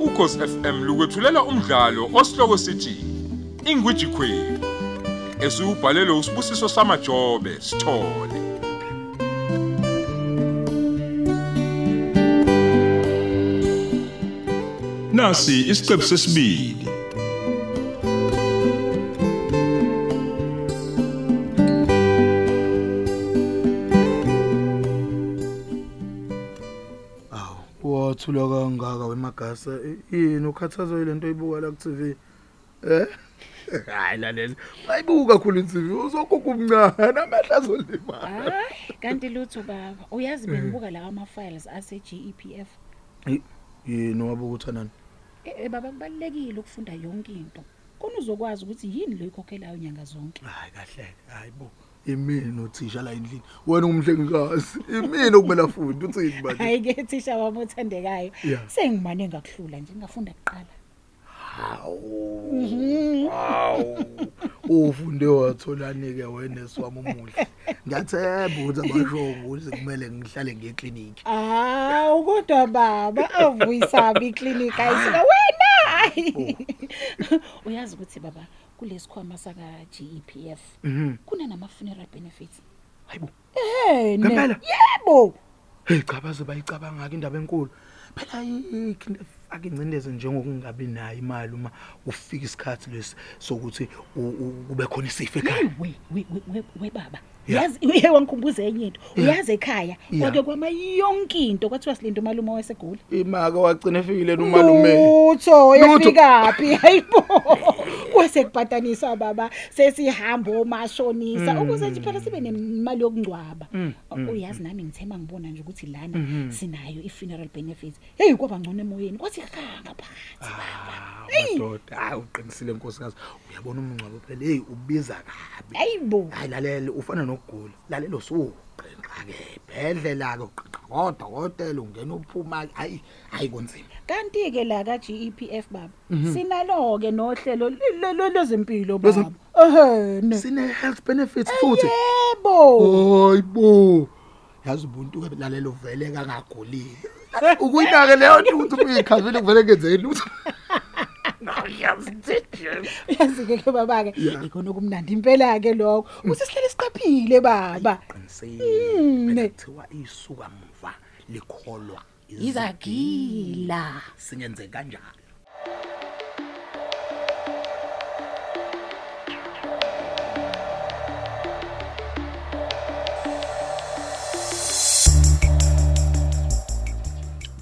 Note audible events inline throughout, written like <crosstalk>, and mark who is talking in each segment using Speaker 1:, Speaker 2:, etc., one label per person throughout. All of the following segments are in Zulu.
Speaker 1: ukhosi FM lukwethulela umdlalo osihloko sithi Ingwiji Queen. Esiubhalelwe usibusiso samajobe sithole.
Speaker 2: Nasi isiqephu sesibili.
Speaker 3: Aw, wathula kangaka wemagasa. Eh, Yini ukhathazwa yile nto oyibuka la ku-TV? Eh? <laughs> Hayi lalela. Mayibuka khulu i-TV uzokhokha umncane amehla azolimala.
Speaker 4: hayi kanti lutho baba
Speaker 3: Mm.
Speaker 4: uyazi bengibuka lawa ama-files E ase-gepf
Speaker 3: Yi- Yini wabuka uthanani?
Speaker 4: Eh, eh, baba kubalulekile ukufunda yonke into khona uzokwazi ukuthi yini loyikhokhelayo nyanga zonke
Speaker 3: Hayi kahle. Hayi bo. Imini nothisha la endlini. Wena ungumhlengikazi. Imini okumele afunde uthini
Speaker 4: <laughs>
Speaker 3: manje?
Speaker 4: hhayi-ke thisha wami othandekayo
Speaker 3: Yeah.
Speaker 4: sengimane ngakuhlula nje ngafunda kuqala
Speaker 3: Hawu.
Speaker 4: Mhm.
Speaker 3: Hawu. Ufunde watholani ke wena swami umuhle. Ngiyathemba ukuthi abasho ukuthi kumele ngihlale ngekliniki.
Speaker 4: awu kodwa baba avuyisaba iklinika ayisuka wena
Speaker 3: Oh.
Speaker 4: uyazi ukuthi baba kulesikhwama saka-gepf
Speaker 3: Mhm.
Speaker 4: kunanama-funeral benefits
Speaker 3: Hayibo.
Speaker 4: Eh, ne-
Speaker 3: Ngempela?
Speaker 4: yebo
Speaker 3: Hey cha baze bayicabanga ke indaba enkulu. Phela ikinto akingcindeze njengokungabi nayo imali uma ufika isikhathi lesi sokuthi u- u- kube khona isifo ekhaya.
Speaker 4: we we we- we we baba
Speaker 3: Yeah.
Speaker 4: yazi uye wangikhumbuza enye into
Speaker 3: Yeah.
Speaker 4: uyazi ekhaya
Speaker 3: Yeah.
Speaker 4: kwake kwama yonke into kwathiwa silinde umalume wasegoli
Speaker 3: Imaka wagcina efikile
Speaker 4: lutho
Speaker 3: Lutho.
Speaker 4: efikaphi hayibo kwasekubhataniswa baba sesihamba omashonisa
Speaker 3: Mm.
Speaker 4: ukuze nje phela sibe nemali yokungcwaba
Speaker 5: Mm,
Speaker 4: uyazi nami ngithema ngibona nje ukuthi lana sinayo i-funeral benefits heyi kwaba ngcono emoyeni kwathi kanga phakathi
Speaker 3: Ah, madoda, hayi uqinisile nkosikazi. Uyabona umngcwabo phela hey ubiza kabi.
Speaker 4: hayibo
Speaker 3: Hayi lalela ufana nokugula. Lalelo suqinqa ke. Bhedlela ke uqinqa kodwa hotela ungena uphuma hayi hayi konzima.
Speaker 4: kanti-ke la ka-gepf baba sinalo-ke nohlelo le- le- lwezempilo
Speaker 3: Lwezem-
Speaker 4: baba ehene
Speaker 3: Sine health benefits futhi.
Speaker 4: yebo
Speaker 3: Hayibo. Yazi ubuntu ke lalelo vele kangagulile. Ukuyinake leyo nto ukuthi uyikhazile kuvele kenzeni lutho.
Speaker 4: Oh, yazi-ke ke baba-ke
Speaker 3: Yeah.
Speaker 4: ikhona okumnandi impela-ke lokho ukuthi sihlale siqaphile baba Mm, ne.
Speaker 3: Qinisile. Kuthiwa isuka muva likholwa
Speaker 4: izagila
Speaker 3: Singenze kanjalo.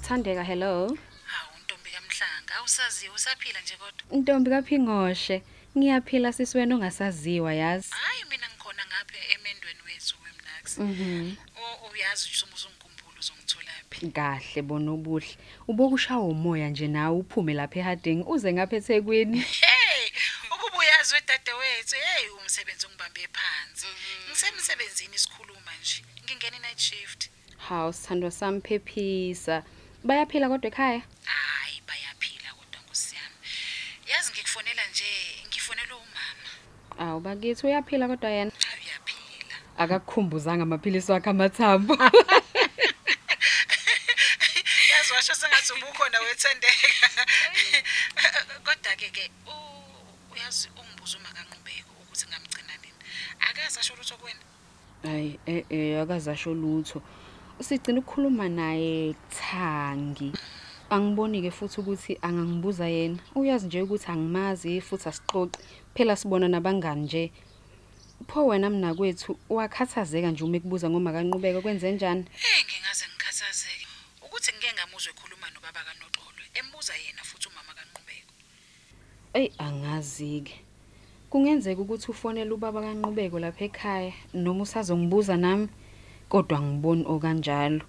Speaker 6: Thandeka hello.
Speaker 5: Hawu Ntombi kaMhlanga, awusaziwa usaphila nje kodwa.
Speaker 6: Ntombi kaPhingoshe, ngiyaphila sisiweni ongasaziwa yazi.
Speaker 5: Hayi mina ngikhona ngapha emendweni wethu wemnax.
Speaker 6: Mhm.
Speaker 5: O uyazi nje uma uzongikhumbula uzongitholaphi.
Speaker 6: Kahle bona ubuhle. Ubokushawa umoya nje nawe uphume lapha eHarding uze ngapha eThekwini.
Speaker 5: <laughs> Hey, ukuba uyazi wedadewethu, hey umsebenzi ungibambe phansi. Ngisemsebenzini sikhuluma nje. Ngingena night shift.
Speaker 6: Hawu sithandwa sami phephisa. Bayaphila kodwa ekhaya?
Speaker 5: Hayi bayaphila kodwa ngosiyami. Yazi ngikufonela nje, ngifonela umama.
Speaker 6: Awu bakithi uyaphila kodwa yena
Speaker 5: Hayi uyaphila.
Speaker 6: akakukhumbuzanga amaphilisi wakhe
Speaker 5: <laughs>
Speaker 6: amathambo.
Speaker 5: Yazi washo <laughs> sengathi ubukhona wethendeka. <laughs> Kodwa ke ke u- uyazi ungibuza uma kanqubeko ukuthi ngamgcina nini. Akaze asho lutho kuwena.
Speaker 6: Hayi eh eh akazasho lutho. Sigcina ukukhuluma naye Thangi. Angiboni ke futhi ukuthi angangibuza yena. Uyazi nje ukuthi angimazi futhi asixoxe. Phela sibona nabangani nje. Pho wena mina kwethu wakhathazeka nje uma ekubuza ngoma kanqubeka kwenze njani?
Speaker 5: Eh ngingaze ngikhathazeke ukuthi ngike ngamuzwe ekhuluma nobaba kaNoxolo. Embuza yena futhi um, umama kanqubeko.
Speaker 6: Ey angazi ke. Kungenzeka ukuthi ufonele ubaba kanqubeko lapha ekhaya noma usazongibuza nami kodwa ngiboni okanjalo.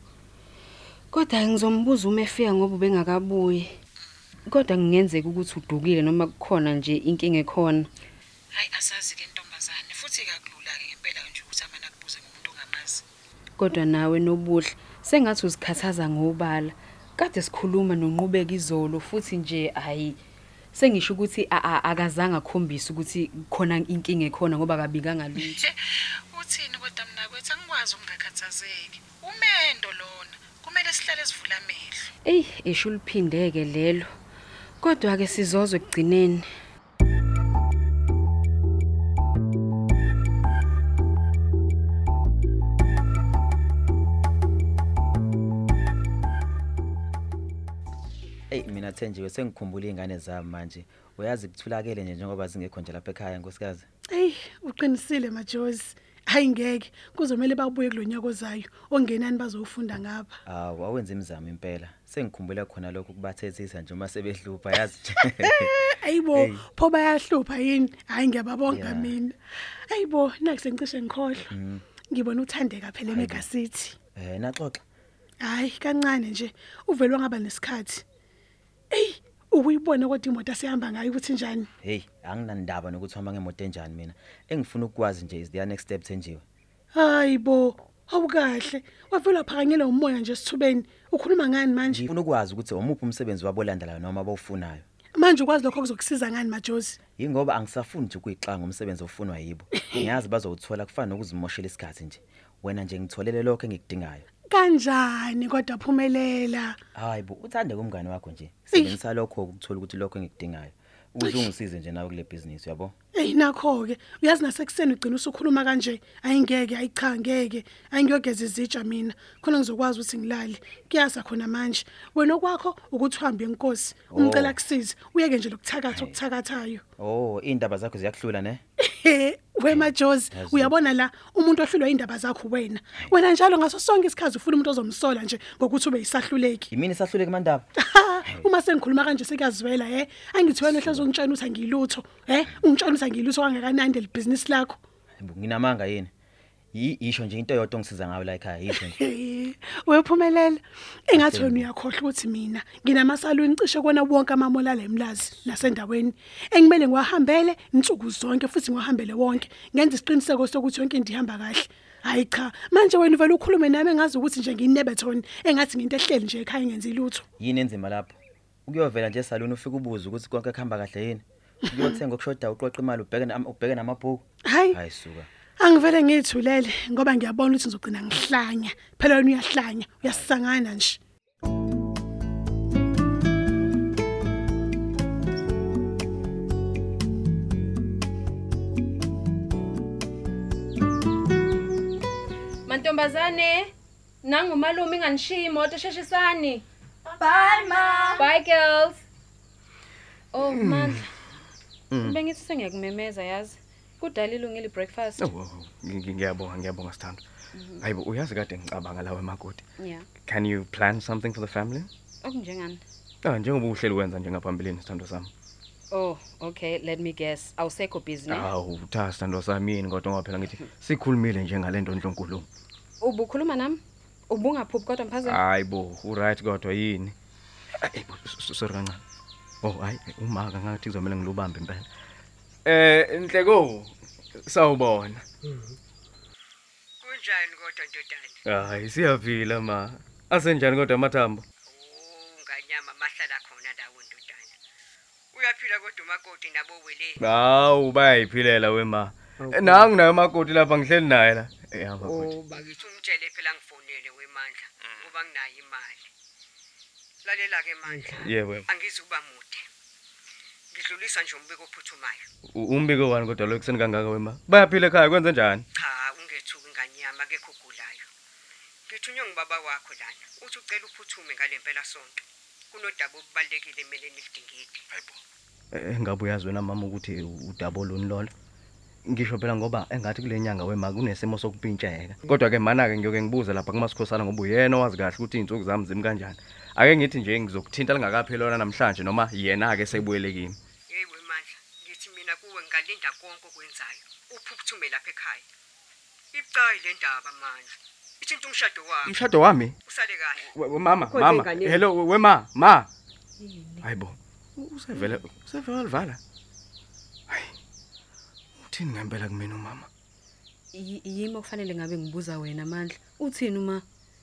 Speaker 6: Kodwa ngizombuza uma efika ngoba bengakabuyi. Kodwa kungenzeka ukuthi udukile noma kukhona nje inkinga ekhona.
Speaker 5: Hayi asazi ke intombazane futhi kakulula ke ngempela nje ukuthi amana kubuze ngomuntu ongamazi.
Speaker 6: Kodwa nawe nobuhle sengathi uzikhathaza ngobala. Kade sikhuluma nonqubeka izolo futhi nje ayi sengisho ukuthi a- a- akazange akhombise ukuthi khona inkinga ekhona ngoba kabikanga lutho.
Speaker 5: Nje uthini kodwa mina kwethu angikwazi ukungakhathazeki. Umendo lona kumele sihlale sivula amehlo.
Speaker 6: Ey, esho uliphindeke lelo. Kodwa ke sizozwe ekugcineni.
Speaker 7: Ey mina Thenjiwe sengikhumbula izingane zami manje. Uyazi kuthulakele nje njengoba zingekho nje lapha ekhaya nkosikazi.
Speaker 8: Ey, uqinisile majozi. Hayi ngeke, kuzomela babuye kulonyaka ozayo ongenani bazofunda ngapha.
Speaker 7: Awu awenze imizamo impela. Sengikhumbula khona lokho kubathethisa nje uma sebedlupa yazi.
Speaker 8: Ayibo,
Speaker 7: Hey.
Speaker 8: pho bayahlupa yini? Hayi ngiyababonga
Speaker 7: Yeah.
Speaker 8: mina. Ayibo, naku sengicishe ngikhohlwa. Ngibona uthandeka phela emega city.
Speaker 7: Mm. Eh naxoxa.
Speaker 8: Hayi kancane nje, uvelwa ngaba nesikhathi. Ey, ukuyibona kodwa imoto asihamba ngayo ukuthi njani?
Speaker 7: Hey anginandaba nokuthi uhamba ngemoto enjani mina. Engifuna ukukwazi nje is the next step Thenjiwe.
Speaker 8: Hayibo, awukahle. Wavelwa phakanyela umoya nje sithubeni. Ukhuluma ngani manje?
Speaker 7: Ngifuna ukwazi ukuthi omuphi umsebenzi wabolandelayo noma bawufunayo.
Speaker 8: Manje ukwazi lokho kuzokusiza ngani majozi?
Speaker 7: Yingoba angisafuni nje ukuyixanga umsebenzi ofunwa yibo. Ngiyazi bazowuthola kufana nokuzimoshela isikhathi nje. Wena nje ngitholele lokho engikudingayo.
Speaker 8: kanjani kodwa phumelela
Speaker 7: Hayi bo uthande kumngane wakho nje. Sibenzisa lokho ukuthola ukuthi lokho engikudingayo. Ukuze ungisize nje nawe kule business yabo.
Speaker 8: eyi nakho ke uyazi nasekuseni ugcina usukhuluma kanje ayingeke ayicha ngeke ayingiyogeza izitsha mina khona ngizokwazi ukuthi ngilale kuyasa khona manje wena okwakho ukuthi uhambe inkosi umcela kusize uyeke nje lokuthakatha <laughs> okuthakathayo
Speaker 7: Oh, indaba zakho ziyakuhlula ne?
Speaker 8: he wemajozi
Speaker 7: Yazi.
Speaker 8: uyabona la umuntu ohlulwa indaba zakho wena wena njalo ngaso sonke isikhathi ufuna umuntu ozomsola nje ngokuthi ube yisahluleki
Speaker 7: Yimini sahluleke mandaba.
Speaker 8: Ha, <laughs> uma sengikhuluma kanje sekuyazwela he angithi wena ohlezi ungitshena uthi angiyilutho he ungitshena uthi angiyilutho kangakanandi le business lakho <laughs>
Speaker 7: Hayibo, Nginamanga yini? Yi- Yisho nje into eyodwa ongisiza ngayo la ekhaya yisho nje.
Speaker 8: Hey, wephumelela engathi wena uyakhohlwa ukuthi mina nginamasaluni cishe kuwona wonke amamola la emlazi nasendaweni engimele ngiwahambele insuku zonke futhi ngiwahambele wonke ngenza isiqiniseko sokuthi yonke into ihamba kahle hayi cha manje wena uvele ukhulume nami engazi ukuthi nje ngiyinebethoni engathi ngento ehleli nje ekhaya ngenza ilutho
Speaker 7: Yini enzima lapho? Ukuyovela nje esaluni ufike ubuze ukuthi konke kuhamba kahle yini? Ukuyothenga okushoda uqoqa imali ubheke nam- ubheke namabhuku.
Speaker 8: Hayi.
Speaker 7: Hayi suka.
Speaker 8: Angivele ngithulele ngoba ngiyabona ukuthi ngizogcina ngihlanya. Phela wena uyahlanya, uyasangana nje.
Speaker 6: Mantombazane, nangumalume inganishiya imoto sheshisani. Bye ma. Bye girls. Oh
Speaker 9: Mm,
Speaker 6: mandla. Bengithi sengiyakumemeza yazi. Kudalile ungile breakfast. Mhm.
Speaker 9: Oh, oh, oh, ngi- ngiyabonga ngiyabonga sithando. Hayibo uyazi kade ngicabanga lawe makoti.
Speaker 6: Yeah.
Speaker 9: Can you plan something for the family?
Speaker 6: Okunjengani?
Speaker 9: Ah njengoba uhleli wenza njengaphambilini sithando sami.
Speaker 6: Oh, okay, let me guess. Awusekho busy ne?
Speaker 9: Awu utha sithando sami yini kodwa ngoba phela ngithi sikhulumile nje ngalento nhlonkulu.
Speaker 6: Ubukhuluma nami? Ubungaphuphi kodwa
Speaker 9: Ah,
Speaker 6: mphazana.
Speaker 9: Hayibo u right kodwa yini? Hayibo s- sorry kancane. Oh hayi umaka ngathi kuzomela ngilubambe impela. Eh inhleko sawubona.
Speaker 10: Kunjani kodwa ndodana?
Speaker 9: Hayi siyavila ma. Asenjani kodwa amathambo?
Speaker 10: Unganyama mahlala khona ndawo ndodana. Uyaphila kodwa umakoti nabo wele.
Speaker 9: Hawu bayayiphilela wema. Nangu nayo makoti lapha ngihleli naye la. Eh, Yama kuti.
Speaker 10: Bakithi umtshele phela ngifonele wemandla ngoba nginayo imali. Lalela ke mandla.
Speaker 9: Yebo.
Speaker 10: Angizuba mude. Ngidlulisa nje umbiko ophuthumayo.
Speaker 9: Umbiko wani kodwa lo kuseni kangaka wema. Bayaphila ekhaya kwenze njani?
Speaker 10: Cha, ungethuki nganyama ke khugulayo. Ngithunywe ngibaba wakho lana. Uthi ucela uphuthume ngalempela sonto. Kunodaba obubalekile emele nilidingide. Hayibo.
Speaker 9: Eh, Ngabe uyazi wena mama ukuthi udabo loni lolo. Ngisho phela ngoba engathi kule nyanga wema kunesimo sokumpintsheka. Kodwa ke mana ke ngiyoke ngibuze lapha kumasikhosana ngoba uyena owazi kahle ukuthi izinsuku zami zimi kanjani. Ake ngithi nje ngizokuthinta lingakaphelona namhlanje noma yena ke sebuyelekile.
Speaker 10: Hey wemandla, ngithi mina kuwe ngalinda konke okwenzayo. Uphuphume lapha ekhaya. Ibucayi le ndaba manje. Ithinta umshado wakho.
Speaker 9: Umshado wami
Speaker 10: Usale kahle.
Speaker 9: We- we- mama
Speaker 10: Khona
Speaker 9: mama
Speaker 10: ingane.
Speaker 9: hello we- wema ma hayibo usevele usevele walivala hayi uthini ngempela kumina umama
Speaker 6: Y- Yimi okufanele ngabe ngibuza wena amandla. Uthini uma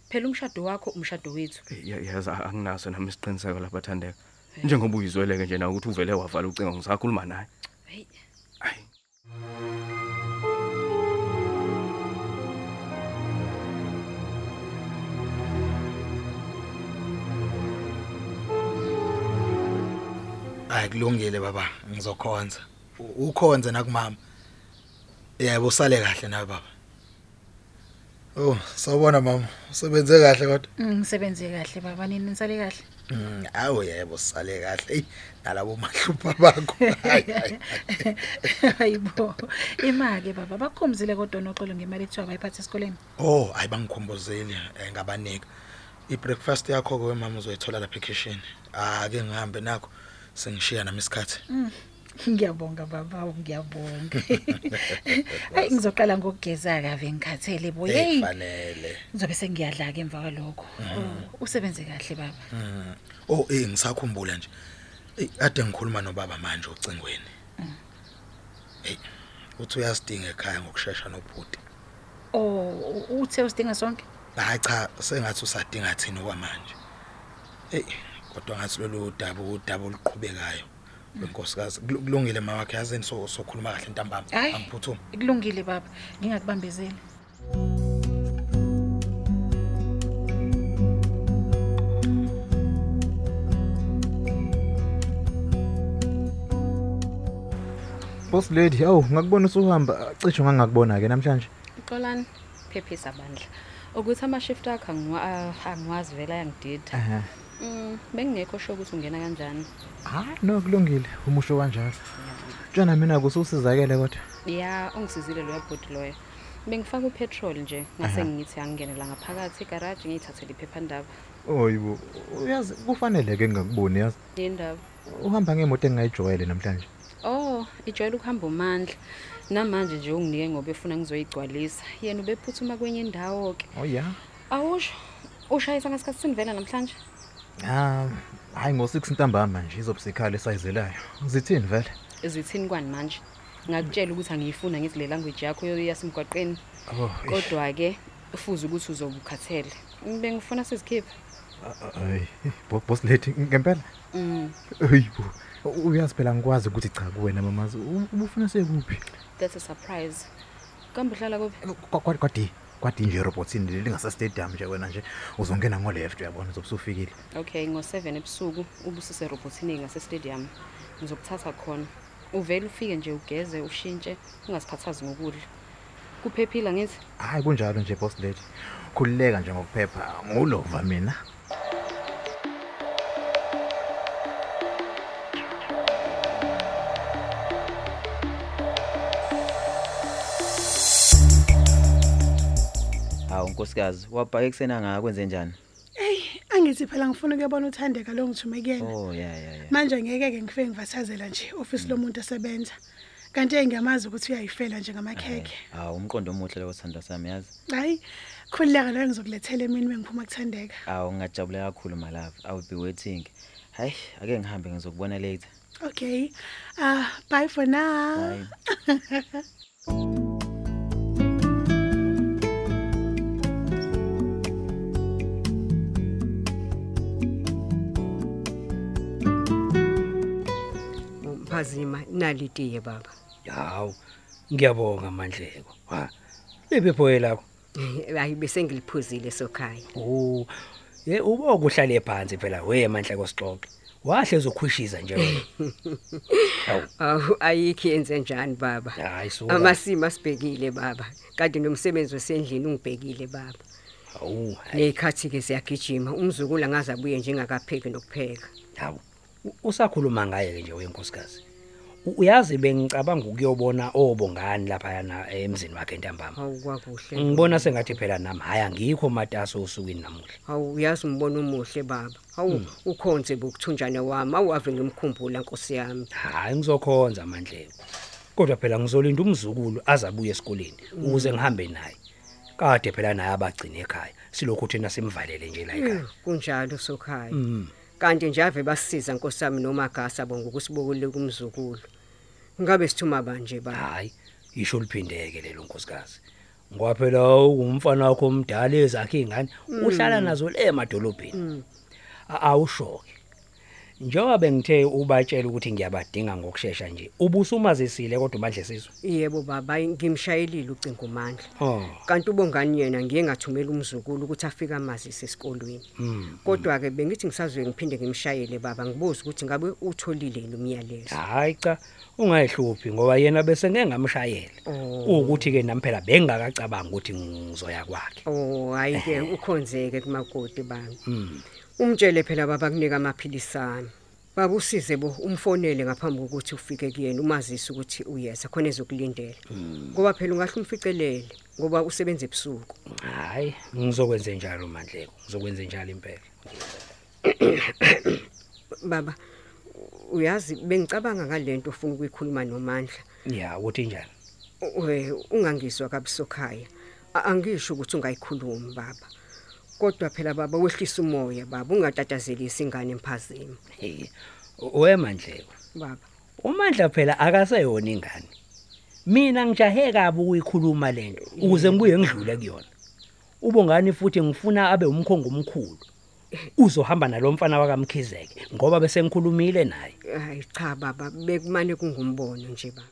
Speaker 6: phela umshado wakho umshado wethu?
Speaker 9: Eh, ya- yazi a- anginaso nami isiqiniseko lapha thandeka njengoba uyizweleke nje nawe ukuthi uvele wavala ucingo ngisakhuluma naye
Speaker 6: Hey.
Speaker 9: hayi
Speaker 3: hayi kulungile baba ngizokhonza U- ukhonze nakumama yebo usale kahle na baba oh sawubona mama usebenze kahle kodwa
Speaker 11: Ngisebenze kahle baba nini nisale kahle.
Speaker 3: Mm, awu yebo sale kahle eyi nalabo <laughs> mahlupha bakho Hayi, hayi.
Speaker 11: <laughs> Hayibo. Imake baba bakhumzile kodwa noxolo ngemali ethiwa bayiphatha esikoleni.
Speaker 3: oh hayi bangikhumbuzile eh, ngabanika i-breakfast yakho-ke wemama uzoyithola lapha ekhishini ake ngihambe nakho sengishiya nami isikhathi
Speaker 11: Mm, Ngiyabonga baba, awu,
Speaker 3: <laughs>
Speaker 11: ngiyabonga. Hayi ngizoqala ngokugeza kave ngikhathele bo.
Speaker 3: Eh,
Speaker 11: Hey,
Speaker 3: fanele
Speaker 11: ngizobe sengiyadla ke emva kwalokho.
Speaker 3: Mm.
Speaker 11: Oh, Usebenze kahle baba.
Speaker 3: Mm. Oh eh ngisakhumbula nje. Eh ade ngikhuluma nobaba manje ocingweni. Hey uthi uyasidinga ekhaya ngokusheshsha nobhuti.
Speaker 11: Oh, uthe usidinga sonke?
Speaker 3: Hayi cha sengathi usadinga thina okwamanje. Hey kodwa ngathi lolu daba udaba oluqhubekayo. Inkosikazi kul- kulungile mawakhe yazeni so sokhuluma kahle ntambama
Speaker 11: Hhayi.
Speaker 3: angiphuthumi.
Speaker 11: Kulungile baba, ngingakubambezeli.
Speaker 12: Boss lady, awu ngakubona usuhamba, cishe ngangakubona ke namhlanje.
Speaker 6: Xolani phephisa bandla. Ukuthi amashift akho angiwa ah, angiwazi vela yangidida.
Speaker 12: Ehhe.
Speaker 6: Mm, bengingekho sho ukuthi ungena kanjani.
Speaker 12: Hayi no kulungile, umusho kanjalo. Tshana mina kususizakele kodwa.
Speaker 6: Ya, ungisizile loya bhodi loya. Bengifaka upetrol nje, ngase
Speaker 12: Aha.
Speaker 6: ngithi angingenela ngaphakathi egarage ngiyithathele iphephandaba.
Speaker 12: Oyibo, uyazi kufanele ke ngakuboni yazi.
Speaker 6: Yindaba.
Speaker 12: Uhamba ngemoto engayijwayele namhlanje.
Speaker 6: Oh, ijwayele ukuhamba umandla. Namanje nje unginike ngoba efuna ngizoyigcwalisa. Yena ubephuthuma kwenye indawo ke.
Speaker 12: Oh ya.
Speaker 6: Awusho. Ushayisa ngasikhathi sini vela namhlanje?
Speaker 12: Ah, hayi ngo6 ntambama nje izobusikhala esayizelayo. Zithini vele?
Speaker 6: Izithini kwani manje? Ngakutshela ukuthi angiyifuna ngithi le language yakho yasemgwaqeni.
Speaker 12: Oh, eish.
Speaker 6: Kodwa ke ufuze ukuthi uzobukhathele. Bengifuna sizikhiphe.
Speaker 12: Hayi, boss lady ngempela.
Speaker 6: Mm.
Speaker 12: Oyibo. Uyazi phela ngikwazi ukuthi cha kuwena mamazi, u- ubufuna sekuphi?
Speaker 6: That's a surprise. Kambe uhlala kuphi?
Speaker 12: Kwa- kwadi kwadi nje erobotini leli lingase stadium nje wena nje uzongena ngo left uyabona uzobusufikile
Speaker 6: Okay, ngo7 ebusuku ubusise robotini ngase stadium. Ngizokuthatha khona. Uvele ufike nje ugeze ushintshe ungasikhathazi ngokudla. Kuphephile ngithi?
Speaker 12: hayi kunjalo nje boss lady khulileka nje ngokuphepha ngulova mina
Speaker 7: hawu nkosikazi wabhake kusena ngaka kwenze njani
Speaker 8: Ey, angithi phela ngifuna ukuyabona uthandeka lo ngithume kuyena.
Speaker 7: oh ya ya ya
Speaker 8: Manje ngeke ke ngifike ngivathazela nje office lomuntu osebenza. Kanti engiyamazi ukuthi uyayifela nje ngamakheke.
Speaker 7: hawu umqondo omuhle lowo sithandwa sami yazi
Speaker 8: Hayi, khulileka la ngizokulethela emini bengiphuma kuthandeka.
Speaker 7: awu ngingajabule kakhulu malava i will be waiting hayi ake ngihambe ngizokubona later
Speaker 8: Okay. Ah, bye for now. <laughs> Bye.
Speaker 10: Mphazima nali tiye baba.
Speaker 13: Hawu. Ngiyabonga Mandleko. Ha. Lebephoye lakho.
Speaker 10: Hayi bese ngiliphuzile sokhaya.
Speaker 13: Oh. Ye uba ukuhlale phansi phela we Mandleko sixoxe. Wahle uzokhwishiza nje
Speaker 9: <clears throat>
Speaker 13: wena.
Speaker 10: Awu ayikho yenze njani baba.
Speaker 13: Hayi so.
Speaker 10: Amasimo asibhekile baba. Kanti nomsebenzi wasendlini ungibhekile baba.
Speaker 13: Hawu.
Speaker 10: Ngekhathi ke siyagijima umzukulu angaze abuye njengakapheki nokupheka.
Speaker 13: Hawu. u- Usakhuluma ngaye ke nje wenkosikazi. U- Uyazi bengicabanga ukuyobona obongani lapha yana emzini wakhe ntambama.
Speaker 10: Hawu kwakuhle.
Speaker 13: Ngibona sengathi phela nami hayi angikho mataso osukwini namuhla.
Speaker 10: Hawu uyazi umbono omuhle baba. Hawu
Speaker 13: Mm.
Speaker 10: ukhonze bokuthunjana wami awave ngimkhumbula nkosi yami.
Speaker 13: Hayi ngizokhonza Mandleko. Ah, Kodwa phela ngizolinda umzukulu azabuye esikoleni
Speaker 10: Mm.
Speaker 13: ukuze ngihambe naye. Kade phela naye abagcina ekhaya. Silokhu thina simvalele nje la ekhaya.
Speaker 10: Ewu, Hmm, Kunjalo sokhaya.
Speaker 13: Mm.
Speaker 10: kanti nje ave basisiza nkosami nomagasa bonke ukusibokele kumzukulu ngabe sithuma banje ba
Speaker 13: hayi yisho liphindeke lelo nkosikazi ngoba phela ungumfana wakho omdala ezakhe ingane
Speaker 10: Mm. Hmm,
Speaker 13: uhlala nazo le madolobheni awushoke njengoba bengithe ubatshela ukuthi ngiyabadinga ngokusheshsha nje ubusumazisile kodwa manje sizwe
Speaker 10: Yebo baba, ngimshayelile ucingo uMandla.
Speaker 13: oh
Speaker 10: Kanti ubongani yena ngiye ngathumela umzukulu ukuthi afike amazise esikolweni.
Speaker 13: mm.
Speaker 10: Kodwa ke bengithi ngisazwe ngiphinde ngimshayele baba ngibuze ukuthi ngabe utholile yini umyalezo.
Speaker 13: hayi cha ungayihluphi ngoba yena bese ngeke ngamshayela ukuthi ke nami phela bengakacabanga ukuthi ngizoya kwakhe
Speaker 10: Oh hayi ke ukhonzeke kumakoti bami.
Speaker 13: mm.
Speaker 10: Umtshele phela baba kunika amaphilisana. Baba usize bo umfonele ngaphambi kokuthi ufike kuyena umazise ukuthi uyeza khona ezokulindela. Ngoba phela ungahle umficelele ngoba usebenza ebusuku.
Speaker 13: hayi ngizokwenze njalo mandleko ngizokwenze njalo impela
Speaker 10: Baba uyazi bengicabanga ngalento ufuna ukuyikhuluma noMandla.
Speaker 13: ya ukuthi njani
Speaker 10: we ungangiswa kabusokhaya A- angisho ukuthi ungayikhulumi baba kodwa phela baba wehlisa umoya baba ungatatazelisa ingane emphazeni
Speaker 13: we mandleko
Speaker 10: baba
Speaker 13: umandla phela akaseyona ingane mina ngijahe kabi ukuyikhuluma lento ukuze ngibuye ngidlule kuyona ubongani futhi ngifuna abe umkhongo omkhulu uzohamba nalomfana wakamkhizeke ngoba bese ngikhulumile naye
Speaker 10: hayi cha baba bekumane kungumbono nje baba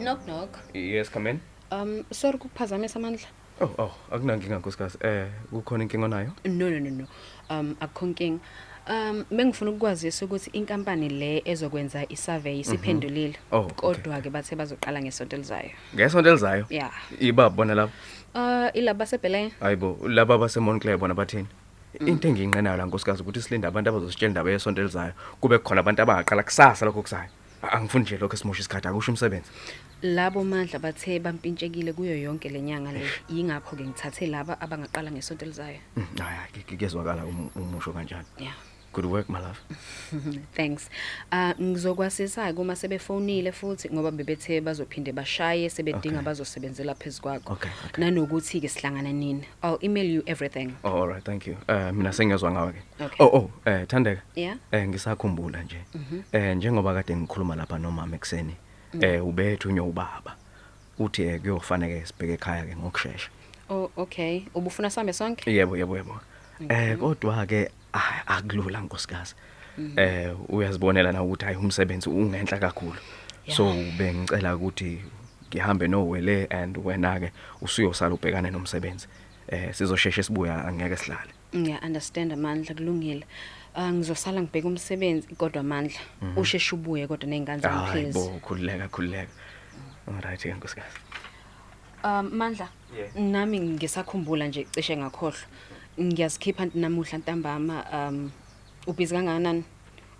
Speaker 6: knock knock
Speaker 9: Yes, come in.
Speaker 6: um sorry ukuphazamisa amandla
Speaker 9: Oh, oh, akunankinga nkosikazi. Eh, kukhona inkinga onayo?
Speaker 6: no no no no um akukho nkinga um bengifuna ukukwazisa ukuthi inkampani le ezokwenza isurvey
Speaker 9: Mhm.
Speaker 6: isiphendulile
Speaker 9: Oh, okay.
Speaker 6: kodwa-ke bathe bazoqala ngesonto elizayo
Speaker 9: Ngesonto elizayo.
Speaker 6: ya
Speaker 9: Iba bona lapha.
Speaker 6: um ilaba sebhelen
Speaker 9: Hayibo, laba baseMonclair bona bathini?
Speaker 6: Mm.
Speaker 9: Into engiyinqenayo la nkosikazi ukuthi silinde abantu abazositshela indaba yesonto elizayo kube khona abantu abaqala kusasa lokho kusayo. A- Angifuni nje lokho esimosha isikhathi akusho umsebenzi.
Speaker 6: labo mandla bathe bampintshekile kuyo yonke le nyanga le yingakho-ke ngithathe laba abangaqala ngesonto elizayo
Speaker 9: Mm, Hayi, hayi, ke- kezwakala um- umusho kanjani.
Speaker 6: Yeah.
Speaker 9: Good work my love. Mhm.
Speaker 6: <laughs> thanks um ngizokwasiza-ke uma sebefonile futhi ngoba bebethe bazophinde bashaye sebedinga
Speaker 9: Okay.
Speaker 6: bazosebenzela phezu kwakho
Speaker 9: Okay.
Speaker 6: nanokuthi-ke sihlangana nini i'll email you everything
Speaker 9: Oh, all right, thank you. Eh mina sengiyezwa ngawe ke.
Speaker 6: Okay.
Speaker 9: Oh, oh, eh Thandeka.
Speaker 6: Yeah.
Speaker 9: Eh ngisakhumbula nje.
Speaker 6: Mhm.
Speaker 9: Eh njengoba kade ngikhuluma lapha nomama ekseni,
Speaker 6: Mm.
Speaker 9: eh ubethunywa ubaba. Uthi eh kuyofanele sibheke ekhaya ke ngokusheshsha.
Speaker 6: oh okay ubufuna sihambe sonke
Speaker 9: Yebo, yebo, yebo.
Speaker 6: Okay.
Speaker 9: Eh kodwa ke ah, akulula nkosikazi.
Speaker 6: Mhm.
Speaker 9: Eh uyazibonela na ukuthi hayi umsebenzi ungenhla kakhulu. So bengicela ukuthi ngihambe nowele and wena ke usuyosala ubhekane nomsebenzi. Eh sizosheshe sibuya angeke sihlale.
Speaker 6: ngiya-understand amandla kulungile um ngizosala ngibheke umsebenzi kodwa amandla
Speaker 9: Mhm.
Speaker 6: usheshe ubuye kodwa ney'ngane
Speaker 9: Hayi
Speaker 6: zangiphezi
Speaker 9: bo khululeka khululeka. Alright ke nkosikazi.
Speaker 6: um mandla
Speaker 9: Yeah.
Speaker 6: nami ngisakhumbula nje cishe ngakhohlwa ngiyazikhipha nti namuhla ntambama um ubhizi kangakanani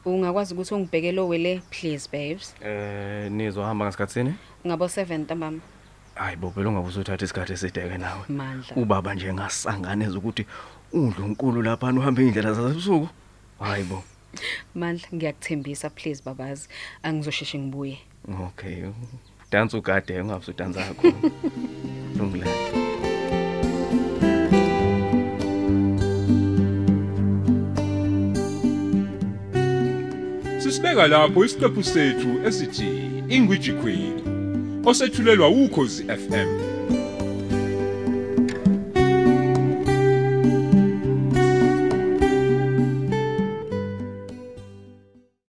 Speaker 6: ungakwazi ukuthi ungibhekele owele please babes
Speaker 9: Eh nizohamba ngasikhatsini?
Speaker 6: ngabo-seven ntambama
Speaker 9: Hayi bo phela ungabuze uthatha isikhathi eside ke nawe.
Speaker 6: mandla
Speaker 9: Ubaba nje ngasangane ukuthi undlunkulu lapha uhambe indlela zasebusuku. Hayi bo.
Speaker 6: mandla ngiyakuthembisa please babazi angizosheshe ngibuye
Speaker 9: Okay. Dance ugade ungabe udansa kakhulu. Lungile.
Speaker 1: Sisibeka lapho isiqephu sethu esithi Ingwiji Queen osethulelwa ukhozi FM.